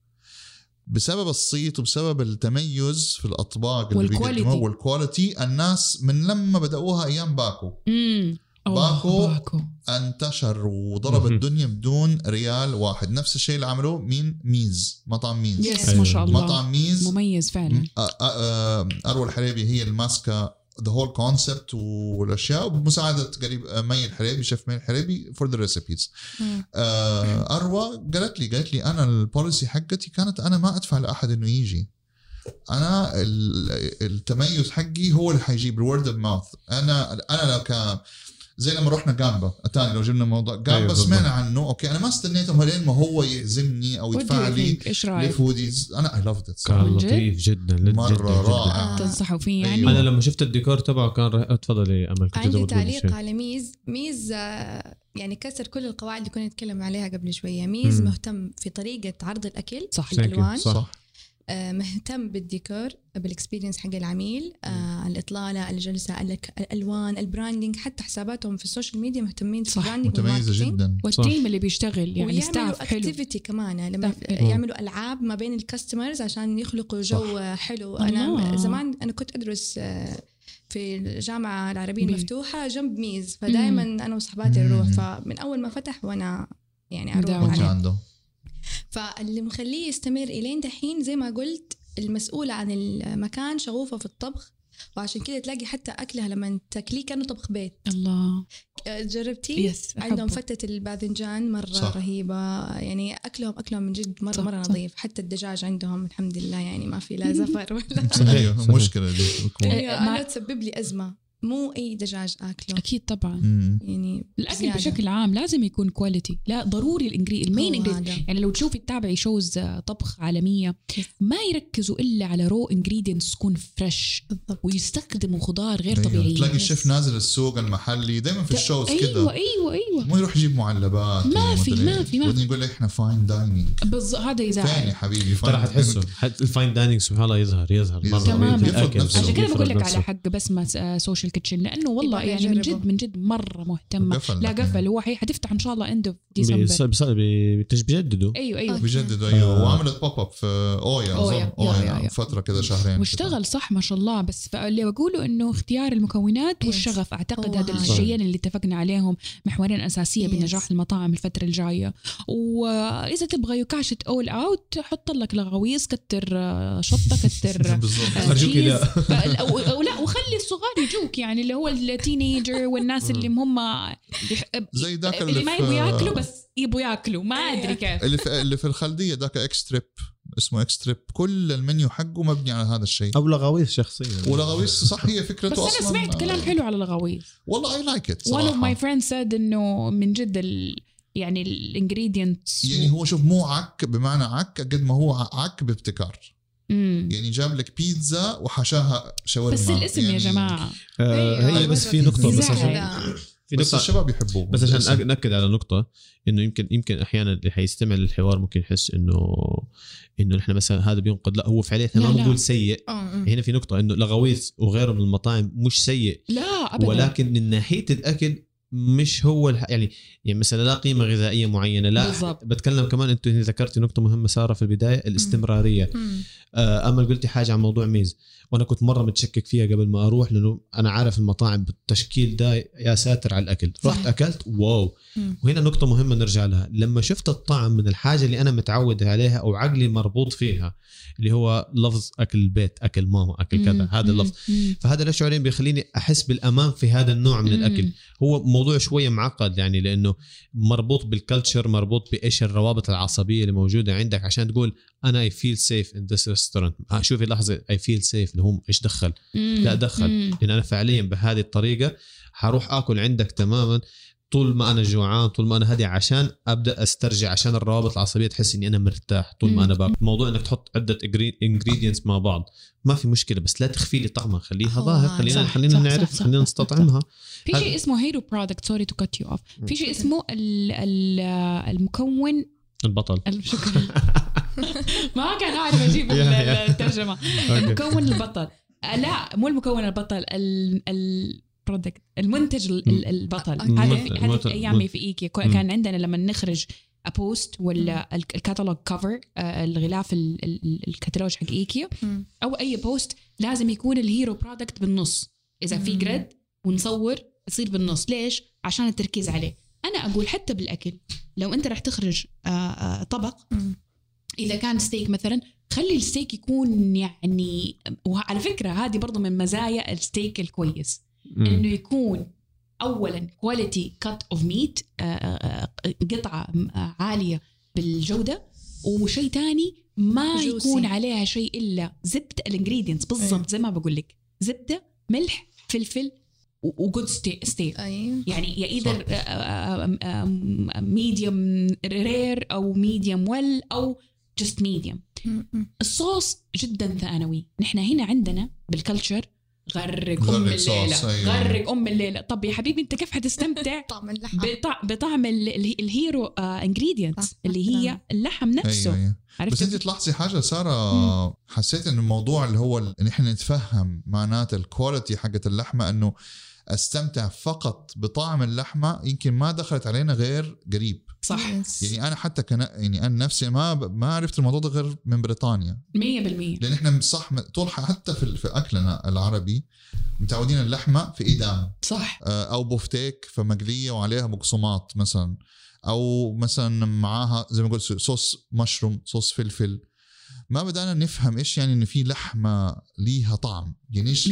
[SPEAKER 1] بسبب الصيت وبسبب التميز في الاطباق اللي
[SPEAKER 4] والكواليتي.
[SPEAKER 1] بيقدموها والكواليتي الناس من لما بداوها ايام باكو
[SPEAKER 4] مم. أوه،
[SPEAKER 1] باكو.
[SPEAKER 4] باكو
[SPEAKER 1] انتشر وضرب
[SPEAKER 2] مهم.
[SPEAKER 1] الدنيا بدون ريال واحد نفس الشيء اللي عملوه مين ميز مطعم ميز
[SPEAKER 4] يس
[SPEAKER 2] أيوة.
[SPEAKER 4] ما شاء الله
[SPEAKER 1] مطعم ميز
[SPEAKER 4] مميز فعلا
[SPEAKER 1] أ- أ- أ- اروى الحريبي هي الماسكه ذا هول كونسبت والاشياء بمساعده قريب مي الحريبي شيف مي الحريبي فور ذا ريسبيز
[SPEAKER 3] مم.
[SPEAKER 1] اروى آه، قالت لي قالت لي انا البوليسي حقتي كانت انا ما ادفع لاحد انه يجي انا ال- التميز حقي هو اللي حيجيب الورد اوف ماوث انا انا لو ك زي لما رحنا جامبا الثاني لو جبنا موضوع جامبا
[SPEAKER 2] أيوه،
[SPEAKER 1] أيوه
[SPEAKER 2] بالضبط.
[SPEAKER 1] سمعنا عنه اوكي انا ما استنيتهم لين ما هو يهزمني او
[SPEAKER 4] What do you
[SPEAKER 1] يدفع لي
[SPEAKER 4] think? ايش رايك؟
[SPEAKER 1] لفوديز انا اي لافد ات
[SPEAKER 2] كان
[SPEAKER 4] من جد؟
[SPEAKER 2] لطيف جدا جد
[SPEAKER 1] مرة
[SPEAKER 2] جداً جداً.
[SPEAKER 1] رائع.
[SPEAKER 3] آه.
[SPEAKER 4] تنصحوا فيه يعني
[SPEAKER 1] أيوة.
[SPEAKER 2] انا لما شفت الديكور تبعه كان رائع تفضلي يا امل كنت
[SPEAKER 3] عندي
[SPEAKER 2] تبغى تقولي
[SPEAKER 3] تعليق
[SPEAKER 2] شيء.
[SPEAKER 3] على ميز ميز آه، يعني كسر كل القواعد اللي كنا نتكلم عليها قبل شويه ميز
[SPEAKER 2] مم.
[SPEAKER 3] مهتم في طريقه عرض الاكل
[SPEAKER 4] صح.
[SPEAKER 2] Thank you.
[SPEAKER 3] الألوان.
[SPEAKER 2] صح
[SPEAKER 3] آه، مهتم بالديكور بالاكسبيرينس حق العميل آه، الاطلاله الجلسه الك- الالوان البراندنج حتى حساباتهم في السوشيال ميديا مهتمين في
[SPEAKER 4] صح.
[SPEAKER 3] البراندنج
[SPEAKER 1] متميزه
[SPEAKER 3] والماركتينج.
[SPEAKER 1] جدا
[SPEAKER 4] والتيم اللي بيشتغل يعني ستاف
[SPEAKER 3] ويعملوا
[SPEAKER 4] حلو
[SPEAKER 3] اكتيفيتي كمان يعني لما
[SPEAKER 4] Staff حلو.
[SPEAKER 3] يعملوا العاب ما بين الكاستمرز عشان يخلقوا جو صح. حلو
[SPEAKER 4] الله.
[SPEAKER 3] انا زمان انا كنت ادرس آه، في الجامعه العربيه
[SPEAKER 4] بي.
[SPEAKER 3] المفتوحه جنب ميز فدائما انا وصحباتي نروح
[SPEAKER 1] مم.
[SPEAKER 3] فمن اول ما فتح وانا يعني اروح
[SPEAKER 4] داوم.
[SPEAKER 1] كنت
[SPEAKER 3] عليه
[SPEAKER 1] عنده
[SPEAKER 3] فاللي مخليه يستمر الين دحين زي ما قلت المسؤولة عن المكان شغوفة في الطبخ وعشان كده تلاقي حتى أكلها لما تاكليه كأنه طبخ بيت
[SPEAKER 4] الله
[SPEAKER 3] أه، جربتيه؟
[SPEAKER 4] يس
[SPEAKER 3] عندهم
[SPEAKER 4] عندهم فتح
[SPEAKER 3] فتة الباذنجان مرة
[SPEAKER 1] صح.
[SPEAKER 3] صح. رهيبة يعني أكلهم أكلهم من جد مرة
[SPEAKER 4] صح،
[SPEAKER 3] مرة
[SPEAKER 4] صح.
[SPEAKER 3] نظيف حتى الدجاج عندهم الحمد لله يعني ما في لا زفر ولا
[SPEAKER 1] ايوه
[SPEAKER 2] صحيح.
[SPEAKER 1] مشكله دي بتكون.
[SPEAKER 4] إيه،
[SPEAKER 3] أيوة،
[SPEAKER 4] مع-
[SPEAKER 3] أنا تسبب لي أزمة مو أي دجاج أكله
[SPEAKER 4] اكيد طبعا
[SPEAKER 1] مم.
[SPEAKER 3] يعني
[SPEAKER 4] الاكل
[SPEAKER 3] زيادة.
[SPEAKER 4] بشكل عام لازم يكون كواليتي لا ضروري الانجري المين
[SPEAKER 3] هو
[SPEAKER 4] انجريدينت
[SPEAKER 3] هذا.
[SPEAKER 4] يعني لو تشوفي تتابعي شوز آه، طبخ عالميه ما يركزوا الا على رو انجريدينتس تكون فريش
[SPEAKER 3] بالضبط
[SPEAKER 4] ويستخدموا خضار غير
[SPEAKER 1] أيوة.
[SPEAKER 4] طبيعيه
[SPEAKER 1] تلاقي الشيف نازل السوق المحلي دائما في الشوز
[SPEAKER 4] ايوه
[SPEAKER 1] كذا
[SPEAKER 4] ايوه ايوه
[SPEAKER 1] مو يروح يجيب معلبات
[SPEAKER 4] ما
[SPEAKER 1] ومدري
[SPEAKER 4] في- ما
[SPEAKER 1] إيه.
[SPEAKER 4] في- ما
[SPEAKER 1] بعدين يقول لي احنا فاين دايننج
[SPEAKER 4] بالظبط هذا
[SPEAKER 1] فين يا
[SPEAKER 4] يزعل
[SPEAKER 1] حبيبي
[SPEAKER 2] ترى
[SPEAKER 1] فاين
[SPEAKER 2] حتحسه طيب. حت- الفاين دايننج سبحان الله يظهر يظهر مره
[SPEAKER 4] تماماً.
[SPEAKER 2] في الأكل،
[SPEAKER 1] يفرض نفسه.
[SPEAKER 4] عشان كذا
[SPEAKER 2] يفرض
[SPEAKER 4] بقول لك
[SPEAKER 2] نفسه.
[SPEAKER 4] على حق بسمه آه، سوشيال كيتشن لانه والله
[SPEAKER 3] يبغى
[SPEAKER 4] يعني من
[SPEAKER 3] يجربه.
[SPEAKER 4] جد من جد مره مهتمه
[SPEAKER 1] قفل
[SPEAKER 4] لا
[SPEAKER 1] لكن.
[SPEAKER 4] قفل هو حي- حتفتح ان شاء الله اند اوف
[SPEAKER 2] بيص-
[SPEAKER 4] ديسمبر
[SPEAKER 2] بيص- بي- بتش- بيجددوا
[SPEAKER 4] ايوه ايوه
[SPEAKER 1] بيجددوا ايوه
[SPEAKER 2] آه.
[SPEAKER 1] وعملت بوب اب في اويا
[SPEAKER 4] أويا.
[SPEAKER 1] أظن.
[SPEAKER 4] يا-
[SPEAKER 1] اويا
[SPEAKER 4] يا- يا.
[SPEAKER 1] فتره كذا شهرين
[SPEAKER 4] واشتغل صح ما شاء الله بس اللي بقوله انه اختيار المكونات
[SPEAKER 3] Yes.
[SPEAKER 4] والشغف اعتقد
[SPEAKER 3] هو
[SPEAKER 4] هذا
[SPEAKER 3] هذا.
[SPEAKER 4] الشيئين اللي اتفقنا عليهم محورين اساسيه
[SPEAKER 3] Yes.
[SPEAKER 4] بنجاح المطاعم الفتره الجايه واذا تبغى يكاشت اول اوت حط لك لغويص كتر آه، شطه كتر
[SPEAKER 1] بالضبط
[SPEAKER 4] آه،
[SPEAKER 2] خرجوك
[SPEAKER 4] cheese.
[SPEAKER 2] لا.
[SPEAKER 4] فال- أو- أو لا وخلي الصغار يجوك يعني اللي هو التينيجر والناس اللي هم يح-
[SPEAKER 1] زي ذاك
[SPEAKER 4] اللي ما
[SPEAKER 1] في- إيه.
[SPEAKER 4] يبوا ياكلوا بس يبوا ياكلوا ما ادري كيف
[SPEAKER 1] اللي في اللي في الخلديه ذاك اكستريب اسمه اكستريب كل المنيو حقه مبني على هذا الشيء
[SPEAKER 2] او لغاويص شخصيه
[SPEAKER 1] ولغويص صح هي فكرته
[SPEAKER 4] بس
[SPEAKER 1] اصلا
[SPEAKER 4] انا سمعت كلام حلو على الغويص
[SPEAKER 1] والله اي لايك ات
[SPEAKER 4] one of my
[SPEAKER 1] صراحه
[SPEAKER 4] friends said انه من جد ال... يعني الانجريدينتس
[SPEAKER 1] يعني هو شوف مو عك بمعنى عك قد ما هو ع- عك بابتكار يعني جاب لك بيتزا وحشاها شاورما
[SPEAKER 4] بس الاسم
[SPEAKER 1] يعني
[SPEAKER 4] يا جماعه
[SPEAKER 2] آه، هي
[SPEAKER 3] أيوة،
[SPEAKER 2] بس في نقطه بس
[SPEAKER 4] يزعل.
[SPEAKER 2] عشان في
[SPEAKER 1] بس
[SPEAKER 2] نقطه
[SPEAKER 1] الشباب يحبوه
[SPEAKER 2] بس عشان
[SPEAKER 1] الاسم.
[SPEAKER 2] أك- ناكد على نقطة انه يمكن يمكن احيانا اللي حيستمع للحوار ممكن يحس انه انه نحن مثلا هذا بينقد لا هو فعليا احنا
[SPEAKER 4] لا،
[SPEAKER 2] ما
[SPEAKER 4] لا.
[SPEAKER 2] بنقول سيء
[SPEAKER 3] آه، آه.
[SPEAKER 2] هنا في نقطة انه لغويث وغيره من المطاعم مش سيء
[SPEAKER 4] لا ابدا
[SPEAKER 2] ولكن من ناحية الاكل مش هو الح... يعني يعني مثلا لا قيمة غذائية معينة لا
[SPEAKER 4] بالضبط.
[SPEAKER 2] بتكلم كمان انتم ذكرتي نقطة مهمة سارة في البداية الاستمرارية
[SPEAKER 3] مم.
[SPEAKER 2] آه، امل قلتي حاجه عن موضوع ميز وانا كنت مره متشكك فيها قبل ما اروح لانه انا عارف المطاعم بالتشكيل ده يا ساتر على الاكل
[SPEAKER 4] صح.
[SPEAKER 2] رحت اكلت واو
[SPEAKER 3] مم.
[SPEAKER 2] وهنا نقطه مهمه نرجع لها لما شفت الطعم من الحاجه اللي انا متعود عليها او عقلي مربوط فيها اللي هو لفظ اكل البيت اكل ماما اكل كذا
[SPEAKER 4] مم،
[SPEAKER 2] هذا
[SPEAKER 4] مم،
[SPEAKER 2] اللفظ
[SPEAKER 4] مم.
[SPEAKER 2] فهذا الاشعارين بيخليني احس بالامان في هذا النوع من
[SPEAKER 4] مم.
[SPEAKER 2] الاكل هو موضوع شويه معقد يعني لانه مربوط بالكلتشر مربوط بايش الروابط العصبيه اللي موجوده عندك عشان تقول انا اي فيل سيف ان ذس ريستورنت آه، شوفي لحظه اي فيل سيف اللي هم ايش دخل
[SPEAKER 4] مم.
[SPEAKER 2] لا دخل.
[SPEAKER 4] مم.
[SPEAKER 2] لان انا فعليا بهذه الطريقه حروح اكل عندك تماما طول ما انا جوعان طول ما انا هدي عشان ابدا استرجع عشان الروابط العصبيه تحس اني انا مرتاح طول ما انا باكل موضوع انك تحط عده انجريدينتس مع بعض ما في مشكله بس لا تخفي لي طعمها خليها
[SPEAKER 3] آه،
[SPEAKER 2] ظاهر خلينا
[SPEAKER 4] صح،
[SPEAKER 2] خلينا
[SPEAKER 4] صح،
[SPEAKER 2] نعرف
[SPEAKER 4] صح، صح،
[SPEAKER 2] خلينا
[SPEAKER 4] صح، صح.
[SPEAKER 2] نستطعمها
[SPEAKER 4] في
[SPEAKER 2] هذا-
[SPEAKER 4] شيء اسمه هيرو برودكت سوري تو كات يو اوف في شيء
[SPEAKER 3] تفضل.
[SPEAKER 4] اسمه ال ال المكون
[SPEAKER 2] البطل
[SPEAKER 4] ال- شكرا ما كان عارف اجيب ال-
[SPEAKER 2] يا- يا.
[SPEAKER 4] الترجمه المكون البطل آه، لا مو المكون البطل ال ال product، المنتج ال- ال- البطل
[SPEAKER 3] أوكي.
[SPEAKER 4] هذا
[SPEAKER 3] منتج-
[SPEAKER 4] في- هذا
[SPEAKER 2] منتج-
[SPEAKER 4] في ايامي في ايكيا كو-
[SPEAKER 2] مم.
[SPEAKER 4] كان عندنا لما نخرج بوست ولا ال- الكتالوج كفر آه، الغلاف ال- ال- ال- الكتالوج حق ايكيا
[SPEAKER 3] مم.
[SPEAKER 4] او اي بوست لازم يكون الهيرو برودكت بالنص اذا في
[SPEAKER 3] مم.
[SPEAKER 4] جريد ونصور يصير بالنص ليش عشان التركيز عليه انا اقول حتى بالاكل لو انت راح تخرج آه، آه، طبق
[SPEAKER 3] مم.
[SPEAKER 4] اذا كان ستيك مثلا خلي الستيك يكون يعني وعلى فكره هذه برضو من مزايا الستيك الكويس انه يكون اولا كواليتي كات اوف ميت قطعه آه، عاليه بالجوده وشيء تاني ما
[SPEAKER 3] Juicy.
[SPEAKER 4] يكون عليها شيء الا زبده الانجريدينتس بالضبط زي ما بقول لك زبده ملح فلفل وجود ستيل
[SPEAKER 3] اي
[SPEAKER 4] يعني يا ايذر ميديوم رير او ميديوم ويل او جست ميديوم الصوص جدا ثانوي نحن هنا عندنا بالكلتشر غرق
[SPEAKER 1] غرق
[SPEAKER 4] ام
[SPEAKER 1] صوص،
[SPEAKER 4] الليله
[SPEAKER 1] أيوة.
[SPEAKER 4] غرق ام الليله طب يا حبيبي انت كيف حتستمتع
[SPEAKER 3] طعم اللحم
[SPEAKER 4] بطع- بطعم ال- ال- الهيرو انجريدينتس
[SPEAKER 3] صح،
[SPEAKER 4] اللي هي
[SPEAKER 3] نعم.
[SPEAKER 4] اللحم نفسه
[SPEAKER 1] ايوه بس انت
[SPEAKER 4] عرفت
[SPEAKER 1] تلاحظي حاجه ساره حسيت انه الموضوع اللي هو ال- ان احنا نتفهم معنات الكواليتي حقت اللحمه انه استمتع فقط بطعم اللحمه يمكن ما دخلت علينا غير قريب
[SPEAKER 4] صح 100%
[SPEAKER 3] Yes.
[SPEAKER 1] يعني انا حتى كان يعني انا نفسي ما ما عرفت الموضوع ده غير من بريطانيا لان احنا صح م- طول ح- حتى في في اكلنا العربي متعودين اللحمه في ايدام
[SPEAKER 4] صح
[SPEAKER 1] آه، او بوفتيك فمقليه وعليها بقسماط مثلا او مثلا معاها زي ما قلت صوص مشروم صوص فلفل ما بدانا نفهم ايش يعني ان في لحمه ليها طعم يعني ايش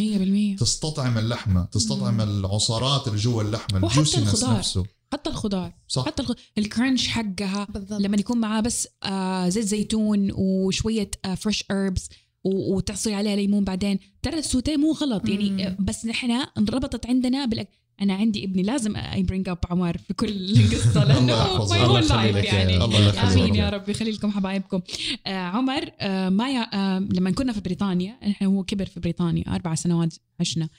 [SPEAKER 4] 100%
[SPEAKER 1] تستطعم اللحمه تستطعم
[SPEAKER 3] مم.
[SPEAKER 1] العصارات اللي جوا اللحمه
[SPEAKER 4] وحتى
[SPEAKER 1] الجوسينس
[SPEAKER 4] الخضار.
[SPEAKER 1] نفسه
[SPEAKER 4] حتى الخضار
[SPEAKER 1] صح
[SPEAKER 4] حتى الخ... الكرنش حقها
[SPEAKER 3] بالضبط
[SPEAKER 4] لما يكون معاه بس آه زيت زيتون وشويه آه فريش هربس وتعصري عليها ليمون بعدين ترى السوتيه مو غلط يعني
[SPEAKER 3] مم.
[SPEAKER 4] آه، بس نحن انربطت عندنا بالأك... انا عندي ابني لازم اي برينج اب عمار في كل قصه لانه
[SPEAKER 1] الله
[SPEAKER 4] هو
[SPEAKER 1] يحفظه.
[SPEAKER 4] my
[SPEAKER 1] الله
[SPEAKER 2] يخلي
[SPEAKER 4] whole life
[SPEAKER 2] لك يا-
[SPEAKER 4] يعني
[SPEAKER 1] الله يخلي لك.
[SPEAKER 4] امين يا رب يخلي لكم حبايبكم آه عمر آه ما ي... آه لما كنا في بريطانيا نحن هو كبر في بريطانيا اربع سنوات عشنا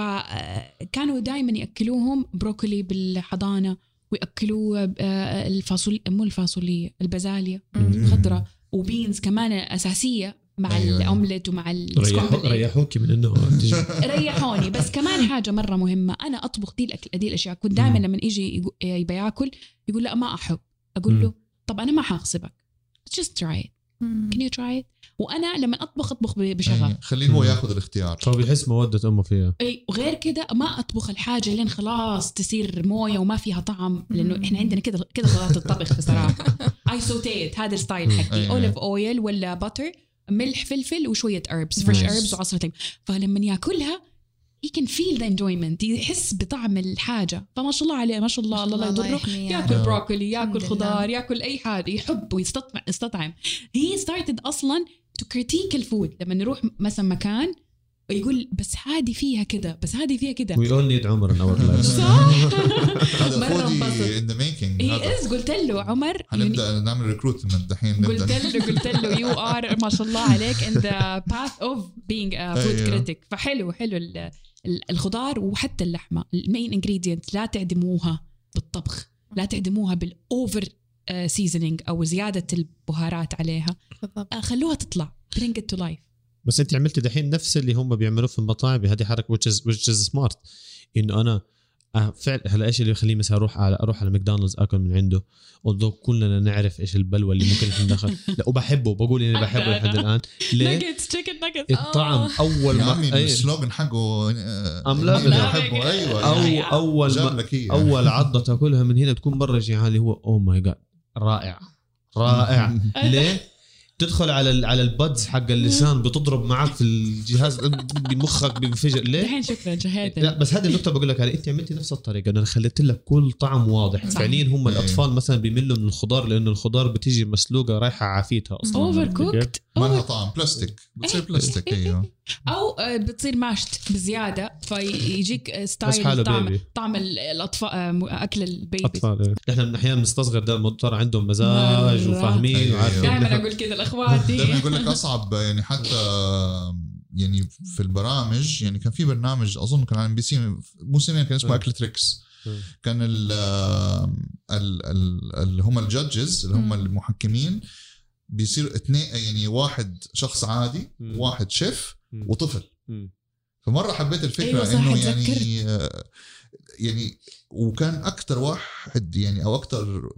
[SPEAKER 4] آه، فكانوا دائما ياكلوهم بروكولي بالحضانه وياكلوه آه، الفاصول مو الفاصوليه البازاليا
[SPEAKER 1] مم.
[SPEAKER 4] الخضراء وبينز كمان اساسيه مع
[SPEAKER 1] أيوة.
[SPEAKER 4] أيوة. الاومليت ومع
[SPEAKER 2] ريحو
[SPEAKER 4] السكومبل إيج.
[SPEAKER 2] ريحوكي من انه تجي-
[SPEAKER 4] ريحوني بس كمان حاجه مره مهمه انا اطبخ دي الأكل دي الاشياء كنت دائما
[SPEAKER 2] مم.
[SPEAKER 4] لما يجي يقو- يبي ياكل يقول لا ما احب اقول له
[SPEAKER 2] مم.
[SPEAKER 4] طب انا ما حاغصبك just try it
[SPEAKER 3] مم.
[SPEAKER 4] can you try it وانا لما اطبخ اطبخ ب- بشغف
[SPEAKER 1] يعني خليه هو
[SPEAKER 2] مم.
[SPEAKER 1] ياخذ الاختيار
[SPEAKER 2] هو بيحس مودة امه فيها
[SPEAKER 4] اي وغير كده ما اطبخ الحاجه لين خلاص تصير مويه وما فيها طعم لانه احنا عندنا كده كده غلط الطبخ بصراحه اي سوتيت هذا الستايل حقي
[SPEAKER 1] أيوة.
[SPEAKER 4] اوليف اويل ولا بتر ملح فلفل وشويه اربس فريش
[SPEAKER 1] Nice.
[SPEAKER 4] اربس وعصره ليمون فلما ياكلها he can feel the enjoyment يحس بطعم الحاجه فما شاء الله عليه ما شاء الله الله لا يضره
[SPEAKER 3] يحميه يا
[SPEAKER 4] ياكل
[SPEAKER 1] رب.
[SPEAKER 4] بروكولي ياكل
[SPEAKER 3] الحمد
[SPEAKER 4] خضار ياكل اي حاجه يحب ويستطعم يستطعم هي ستارتد اصلا تو كريتيك الفود لما نروح مثلا مكان يقول بس هذه فيها كده بس هذه فيها كده
[SPEAKER 2] وي اونلي نيد عمر ان اور لايف
[SPEAKER 4] صح
[SPEAKER 1] هذا
[SPEAKER 4] مرة
[SPEAKER 1] فودي
[SPEAKER 4] انبسط.
[SPEAKER 1] ان ذا ميكينج
[SPEAKER 4] هي از قلت له عمر
[SPEAKER 1] هنبدا نعمل ريكروتمنت دحين
[SPEAKER 4] يعني- قلت
[SPEAKER 1] نبدا
[SPEAKER 4] له قلت له يو ار ما شاء الله عليك ان ذا باث اوف بينج فود
[SPEAKER 1] أيوه.
[SPEAKER 4] كريتيك فحلو حلو ال- ال- الخضار وحتى اللحمه المين انجريدينت لا تعدموها بالطبخ لا آه، تعدموها بالاوفر سيزنينج او زياده البهارات عليها
[SPEAKER 3] بالضبط
[SPEAKER 4] آه، خلوها تطلع برينج تو لايف
[SPEAKER 2] بس انت عملتي دحين نفس اللي هم بيعملوه في المطاعم هذه حركه which is, which is smart انه انا آه، فعلا هلا ايش اللي يخليني مثلا اروح على اروح على ماكدونالدز اكل من عنده although كلنا نعرف ايش البلوى اللي ممكن احنا ندخل لا وبحبه بقول اني بحبه لحد الان ليه؟ إيه.
[SPEAKER 4] ناجتس تشيكن ناجتس
[SPEAKER 2] الطعم اول
[SPEAKER 1] يا
[SPEAKER 2] ما إيه.
[SPEAKER 1] عمي
[SPEAKER 2] أي-
[SPEAKER 1] يعني السلوغن حقه آه،
[SPEAKER 2] I'm loving
[SPEAKER 1] إني
[SPEAKER 2] it.
[SPEAKER 1] احبه ايوه
[SPEAKER 2] او
[SPEAKER 1] يعني
[SPEAKER 4] أيوة.
[SPEAKER 2] اول ما
[SPEAKER 1] جاب لك إياه.
[SPEAKER 2] اول عضه تاكلها من هنا تكون مره جيعان اللي هو اوه ماي جاد رائع رائع
[SPEAKER 4] آه،
[SPEAKER 2] ليه؟ تدخل على ال- على البادز حق اللسان بتضرب معك في الجهاز بمخك بينفجر ليه؟
[SPEAKER 4] الحين شكرا
[SPEAKER 2] لا
[SPEAKER 4] شهيتنا
[SPEAKER 2] بس هذه النقطة بقول لك عليها انت عملتي نفس الطريقة انا خليت لك كل طعم واضح
[SPEAKER 4] صح.
[SPEAKER 2] فعليا هم
[SPEAKER 1] إيه.
[SPEAKER 2] الاطفال مثلا بيملوا من الخضار لانه الخضار بتيجي مسلوقة رايحة عافيتها اصلا
[SPEAKER 4] اوفر كوكت
[SPEAKER 1] ما لها طعم بلاستيك بتصير بلاستيك ايوه
[SPEAKER 4] او آه، بتصير ماشت بزياده فيجيك آه،
[SPEAKER 2] بس حاله
[SPEAKER 4] ستايل طعم
[SPEAKER 2] بيبي.
[SPEAKER 4] طعم ال- الاطفال آه، م- اكل البيبي
[SPEAKER 2] اطفال إيه. احنا من احيانا بنستصغر ده المضطر عندهم مزاج
[SPEAKER 4] مرة.
[SPEAKER 2] وفاهمين
[SPEAKER 1] أيوة.
[SPEAKER 2] وعارفين
[SPEAKER 4] دائما
[SPEAKER 2] نحن-
[SPEAKER 4] اقول كذا لاخواتي
[SPEAKER 1] دائما يقول لك اصعب يعني حتى يعني في البرامج يعني كان في برنامج اظن كان على ام بي سي مو سنين كان اسمه
[SPEAKER 2] م.
[SPEAKER 1] اكل تريكس
[SPEAKER 2] م.
[SPEAKER 1] كان ال ال- ال- اللي هم الجادجز اللي هم
[SPEAKER 3] م.
[SPEAKER 1] المحكمين بيصير اثنين يعني واحد شخص عادي
[SPEAKER 2] م.
[SPEAKER 1] واحد شيف
[SPEAKER 2] م.
[SPEAKER 1] وطفل
[SPEAKER 2] م.
[SPEAKER 1] فمره حبيت الفكره
[SPEAKER 4] أيوة صح،
[SPEAKER 1] انه
[SPEAKER 4] اتذكرت.
[SPEAKER 1] يعني آه، يعني وكان اكثر واحد يعني او اكثر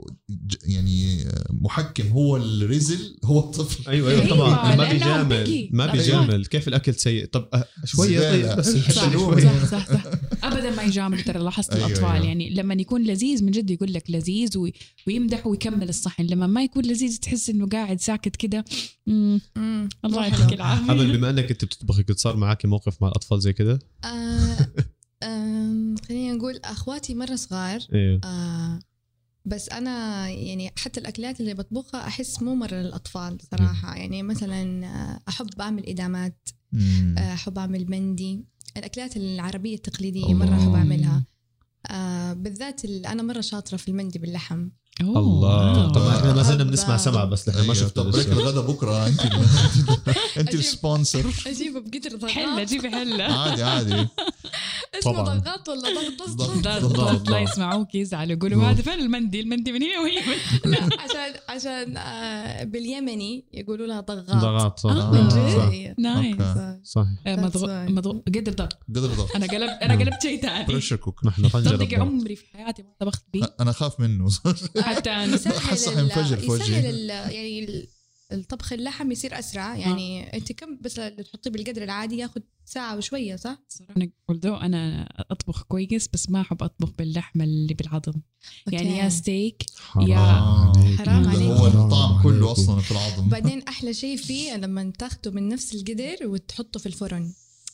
[SPEAKER 1] يعني آه، محكم هو الرزل هو الطفل
[SPEAKER 2] ايوه ايوه
[SPEAKER 4] أيوة، طيب.
[SPEAKER 2] طبعا ما
[SPEAKER 4] لأنه
[SPEAKER 2] بيجامل
[SPEAKER 4] بيجي.
[SPEAKER 2] ما
[SPEAKER 4] لا،
[SPEAKER 2] بيجامل كيف الاكل سيء طب أه، شويه
[SPEAKER 1] زبالة.
[SPEAKER 2] طيب بس
[SPEAKER 4] صح
[SPEAKER 2] نحسن
[SPEAKER 1] شلومي.
[SPEAKER 2] شويه
[SPEAKER 4] صح صح, صح. ابدا ما يجامل ترى لاحظت
[SPEAKER 1] أيوة،
[SPEAKER 4] الاطفال
[SPEAKER 1] أيوة.
[SPEAKER 4] يعني لما يكون لذيذ من جد يقول لك لذيذ وي- ويمدح ويكمل الصحن لما ما يكون لذيذ تحس انه قاعد ساكت كده مم،
[SPEAKER 3] مم.
[SPEAKER 4] الله
[SPEAKER 3] حلو.
[SPEAKER 4] يعطيك العافيه
[SPEAKER 2] امل بما انك انت بتطبخي قد صار معاكي موقف مع الاطفال زي كذا
[SPEAKER 3] آه، آم، خلينا نقول اخواتي مره صغار
[SPEAKER 2] ايوه
[SPEAKER 3] آه، بس انا يعني حتى الاكلات اللي بطبخها احس مو مره للاطفال صراحه يعني مثلا آه، احب اعمل ادامات
[SPEAKER 1] مم.
[SPEAKER 3] آه، احب اعمل بندي الاكلات العربيه التقليديه
[SPEAKER 1] الله.
[SPEAKER 3] مره احب اعملها آه بالذات ال- انا مره شاطره في المندي باللحم
[SPEAKER 4] أوه.
[SPEAKER 2] الله
[SPEAKER 4] آه.
[SPEAKER 2] طبعا احنا ما زلنا
[SPEAKER 3] أحب-
[SPEAKER 2] بنسمع سمع بس لحنا ما
[SPEAKER 1] أيوة،
[SPEAKER 2] شفنا
[SPEAKER 1] طب بريك
[SPEAKER 2] لسه.
[SPEAKER 1] الغدا بكره انت انت
[SPEAKER 3] أجيب.
[SPEAKER 1] السبونسر
[SPEAKER 3] اجيبه بقدر
[SPEAKER 4] حله
[SPEAKER 3] ضغط
[SPEAKER 4] جيبي حله
[SPEAKER 1] عادي عادي
[SPEAKER 3] اسمه
[SPEAKER 2] طبعاً.
[SPEAKER 3] ضغط ولا ضغط
[SPEAKER 1] ضغط.
[SPEAKER 3] ضغط
[SPEAKER 4] لا
[SPEAKER 1] بالضبط.
[SPEAKER 4] لا يسمعوك يزعلوا يقولوا هذا فين المندي المندي من هنا وهي من
[SPEAKER 3] لا عشان عشان آه باليمني يقولوا لها ضغط
[SPEAKER 2] ضغط صح
[SPEAKER 4] آه.
[SPEAKER 3] من
[SPEAKER 2] صح.
[SPEAKER 3] جد؟ إيه.
[SPEAKER 4] نايس
[SPEAKER 1] أوكي.
[SPEAKER 3] صح.
[SPEAKER 2] صحيح
[SPEAKER 4] آه، مضغوط
[SPEAKER 3] That's why.
[SPEAKER 4] مضغوط قدر ضغط
[SPEAKER 1] قدر ضغط
[SPEAKER 4] انا قلبت انا قلبت شيء
[SPEAKER 3] إيه.
[SPEAKER 4] ثاني
[SPEAKER 1] بريشر كوك
[SPEAKER 2] نحن
[SPEAKER 4] صدق
[SPEAKER 2] طنجره
[SPEAKER 4] عمري في حياتي ما طبخت بيه
[SPEAKER 1] انا خاف منه
[SPEAKER 4] حتى انا
[SPEAKER 1] أحس
[SPEAKER 3] يسهل
[SPEAKER 1] حينفجر في
[SPEAKER 3] ال- يسهل
[SPEAKER 1] وجهي.
[SPEAKER 3] ال- يعني ال- الطبخ اللحم يصير
[SPEAKER 4] آه.
[SPEAKER 3] اسرع يعني انت كم بس اللي تحطيه بالقدر العادي ياخذ ساعه وشويه صح؟
[SPEAKER 4] صراحة although انا اطبخ كويس بس ما احب اطبخ باللحمه اللي بالعظم يعني يا ستيك يا-
[SPEAKER 3] حرام عليك.
[SPEAKER 2] آه،
[SPEAKER 1] هو الطعم كله اصلا في العظم
[SPEAKER 3] وبعدين احلى شيء فيه لما تاخده من نفس القدر وتحطه في الفرن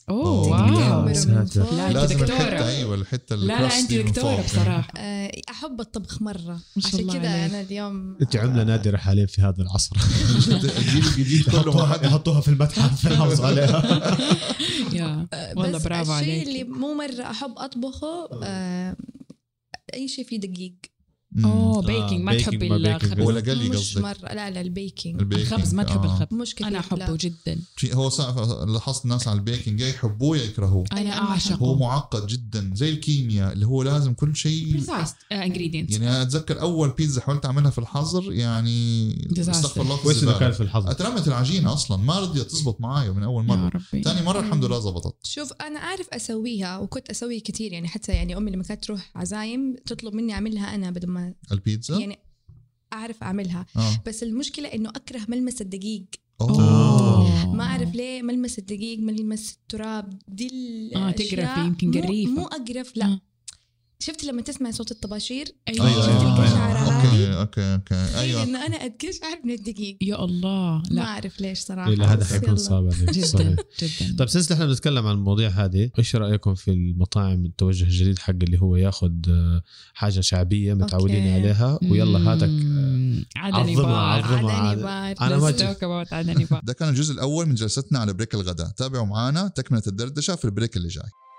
[SPEAKER 4] اوه
[SPEAKER 1] أوه.
[SPEAKER 4] واو
[SPEAKER 3] تكمره من
[SPEAKER 2] ساتر.
[SPEAKER 3] فوق.
[SPEAKER 4] لا، أنت
[SPEAKER 1] لازم
[SPEAKER 4] دكتورة.
[SPEAKER 1] الحته ايوه الحته
[SPEAKER 4] لا لا انت
[SPEAKER 1] الكراستي من
[SPEAKER 4] دكتوره
[SPEAKER 1] فوق.
[SPEAKER 4] بصراحه
[SPEAKER 3] آه، احب الطبخ مره
[SPEAKER 4] ما شاء
[SPEAKER 3] عشان
[SPEAKER 4] الله
[SPEAKER 3] كذا
[SPEAKER 4] عليك.
[SPEAKER 3] انا اليوم آه،
[SPEAKER 2] انت عمله نادره حاليا في هذا العصر
[SPEAKER 1] الجيل الجديد كله ما حد
[SPEAKER 2] يحطوها في المتحف يحافظوا عليها
[SPEAKER 4] يا
[SPEAKER 3] آه،
[SPEAKER 4] والله
[SPEAKER 3] بس
[SPEAKER 4] برافو
[SPEAKER 3] الشيء
[SPEAKER 4] عليك.
[SPEAKER 3] اللي مو مره احب اطبخه آه، اي شيء فيه دقيق Oh,
[SPEAKER 4] اوه بيكنج ما
[SPEAKER 2] baking
[SPEAKER 4] تحبي
[SPEAKER 2] ما baking.
[SPEAKER 4] الخبز
[SPEAKER 1] ولا قلي
[SPEAKER 3] مش
[SPEAKER 1] قصدك
[SPEAKER 3] مره لا لا البيكنج
[SPEAKER 1] البيكنج،
[SPEAKER 4] الخبز ما تحب
[SPEAKER 1] آه.
[SPEAKER 4] الخبز
[SPEAKER 3] مش كثير
[SPEAKER 4] انا
[SPEAKER 3] لا.
[SPEAKER 4] احبه جدا
[SPEAKER 1] شيء هو صعب لاحظت الناس على البيكنج يا يحبوه يا يكرهوه
[SPEAKER 4] انا
[SPEAKER 3] أنا ما
[SPEAKER 1] هو
[SPEAKER 4] اعشقه
[SPEAKER 1] معقد جدا زي الكيمياء اللي هو لازم كل شيء
[SPEAKER 4] بريسايز
[SPEAKER 3] آه،
[SPEAKER 4] انجريدينتس
[SPEAKER 1] يعني انا اتذكر اول بيتزا حاولت اعملها في الحظر يعني
[SPEAKER 4] Disaster.
[SPEAKER 1] استغفر الله في
[SPEAKER 2] كويس انه كان
[SPEAKER 1] الزبالة.
[SPEAKER 2] في الحظ
[SPEAKER 1] اترمت العجينه اصلا ما رضيت تزبط معايا من اول
[SPEAKER 4] يا
[SPEAKER 1] مره
[SPEAKER 4] ربي
[SPEAKER 1] ثاني مره الحمد لله زبطت
[SPEAKER 3] شوف انا اعرف اسويها وكنت اسوي كثير يعني حتى يعني امي لما كانت تروح عزايم تطلب مني اعملها انا بدل ما
[SPEAKER 1] البيتزا
[SPEAKER 3] يعني اعرف اعملها
[SPEAKER 1] اه
[SPEAKER 3] بس المشكله انه اكره ملمس الدقيق
[SPEAKER 1] أوه.
[SPEAKER 4] آه.
[SPEAKER 3] ما اعرف ليه ملمس الدقيق ملمس التراب دي ال-
[SPEAKER 4] آه، تقرف
[SPEAKER 3] الأشياء
[SPEAKER 4] يمكن
[SPEAKER 3] مو-
[SPEAKER 4] قريفة.
[SPEAKER 3] مو اقرف لا
[SPEAKER 4] آه.
[SPEAKER 3] شفت لما تسمع صوت الطباشير
[SPEAKER 4] أيوة.
[SPEAKER 1] ايوه
[SPEAKER 4] شفت
[SPEAKER 1] أيوة،
[SPEAKER 4] القشعرة
[SPEAKER 1] أيوة.
[SPEAKER 3] هذه؟
[SPEAKER 1] اوكي اوكي اوكي
[SPEAKER 3] ايوه
[SPEAKER 1] ايوه
[SPEAKER 3] انه انا اتقشعر من الدقيق
[SPEAKER 4] يا الله
[SPEAKER 3] ما
[SPEAKER 4] لا
[SPEAKER 3] اعرف ليش صراحه
[SPEAKER 2] الا إيه، هذا
[SPEAKER 3] بس
[SPEAKER 2] حيكون
[SPEAKER 3] إيه، يلا.
[SPEAKER 2] صعب عليك
[SPEAKER 4] جدا
[SPEAKER 2] صحيح.
[SPEAKER 4] جدا
[SPEAKER 2] طيب سنس احنا بنتكلم عن المواضيع هذه ايش رايكم في المطاعم التوجه الجديد حق اللي هو ياخذ آه، حاجه شعبيه متعودين
[SPEAKER 3] أوكي.
[SPEAKER 2] عليها ويلا طيب، هاتك آه،
[SPEAKER 4] مم، عدني
[SPEAKER 2] عظمها،
[SPEAKER 4] بار
[SPEAKER 2] عظمها.
[SPEAKER 3] عدني
[SPEAKER 2] عاد-
[SPEAKER 3] بار.
[SPEAKER 2] أنا
[SPEAKER 3] بس
[SPEAKER 2] ما
[SPEAKER 3] لو-
[SPEAKER 2] جبت.
[SPEAKER 4] توك اباوت عدني بار
[SPEAKER 1] ده كان الجزء الاول من جلستنا على بريك الغداء تابعوا معنا تكمله الدردشه في البريك اللي جاي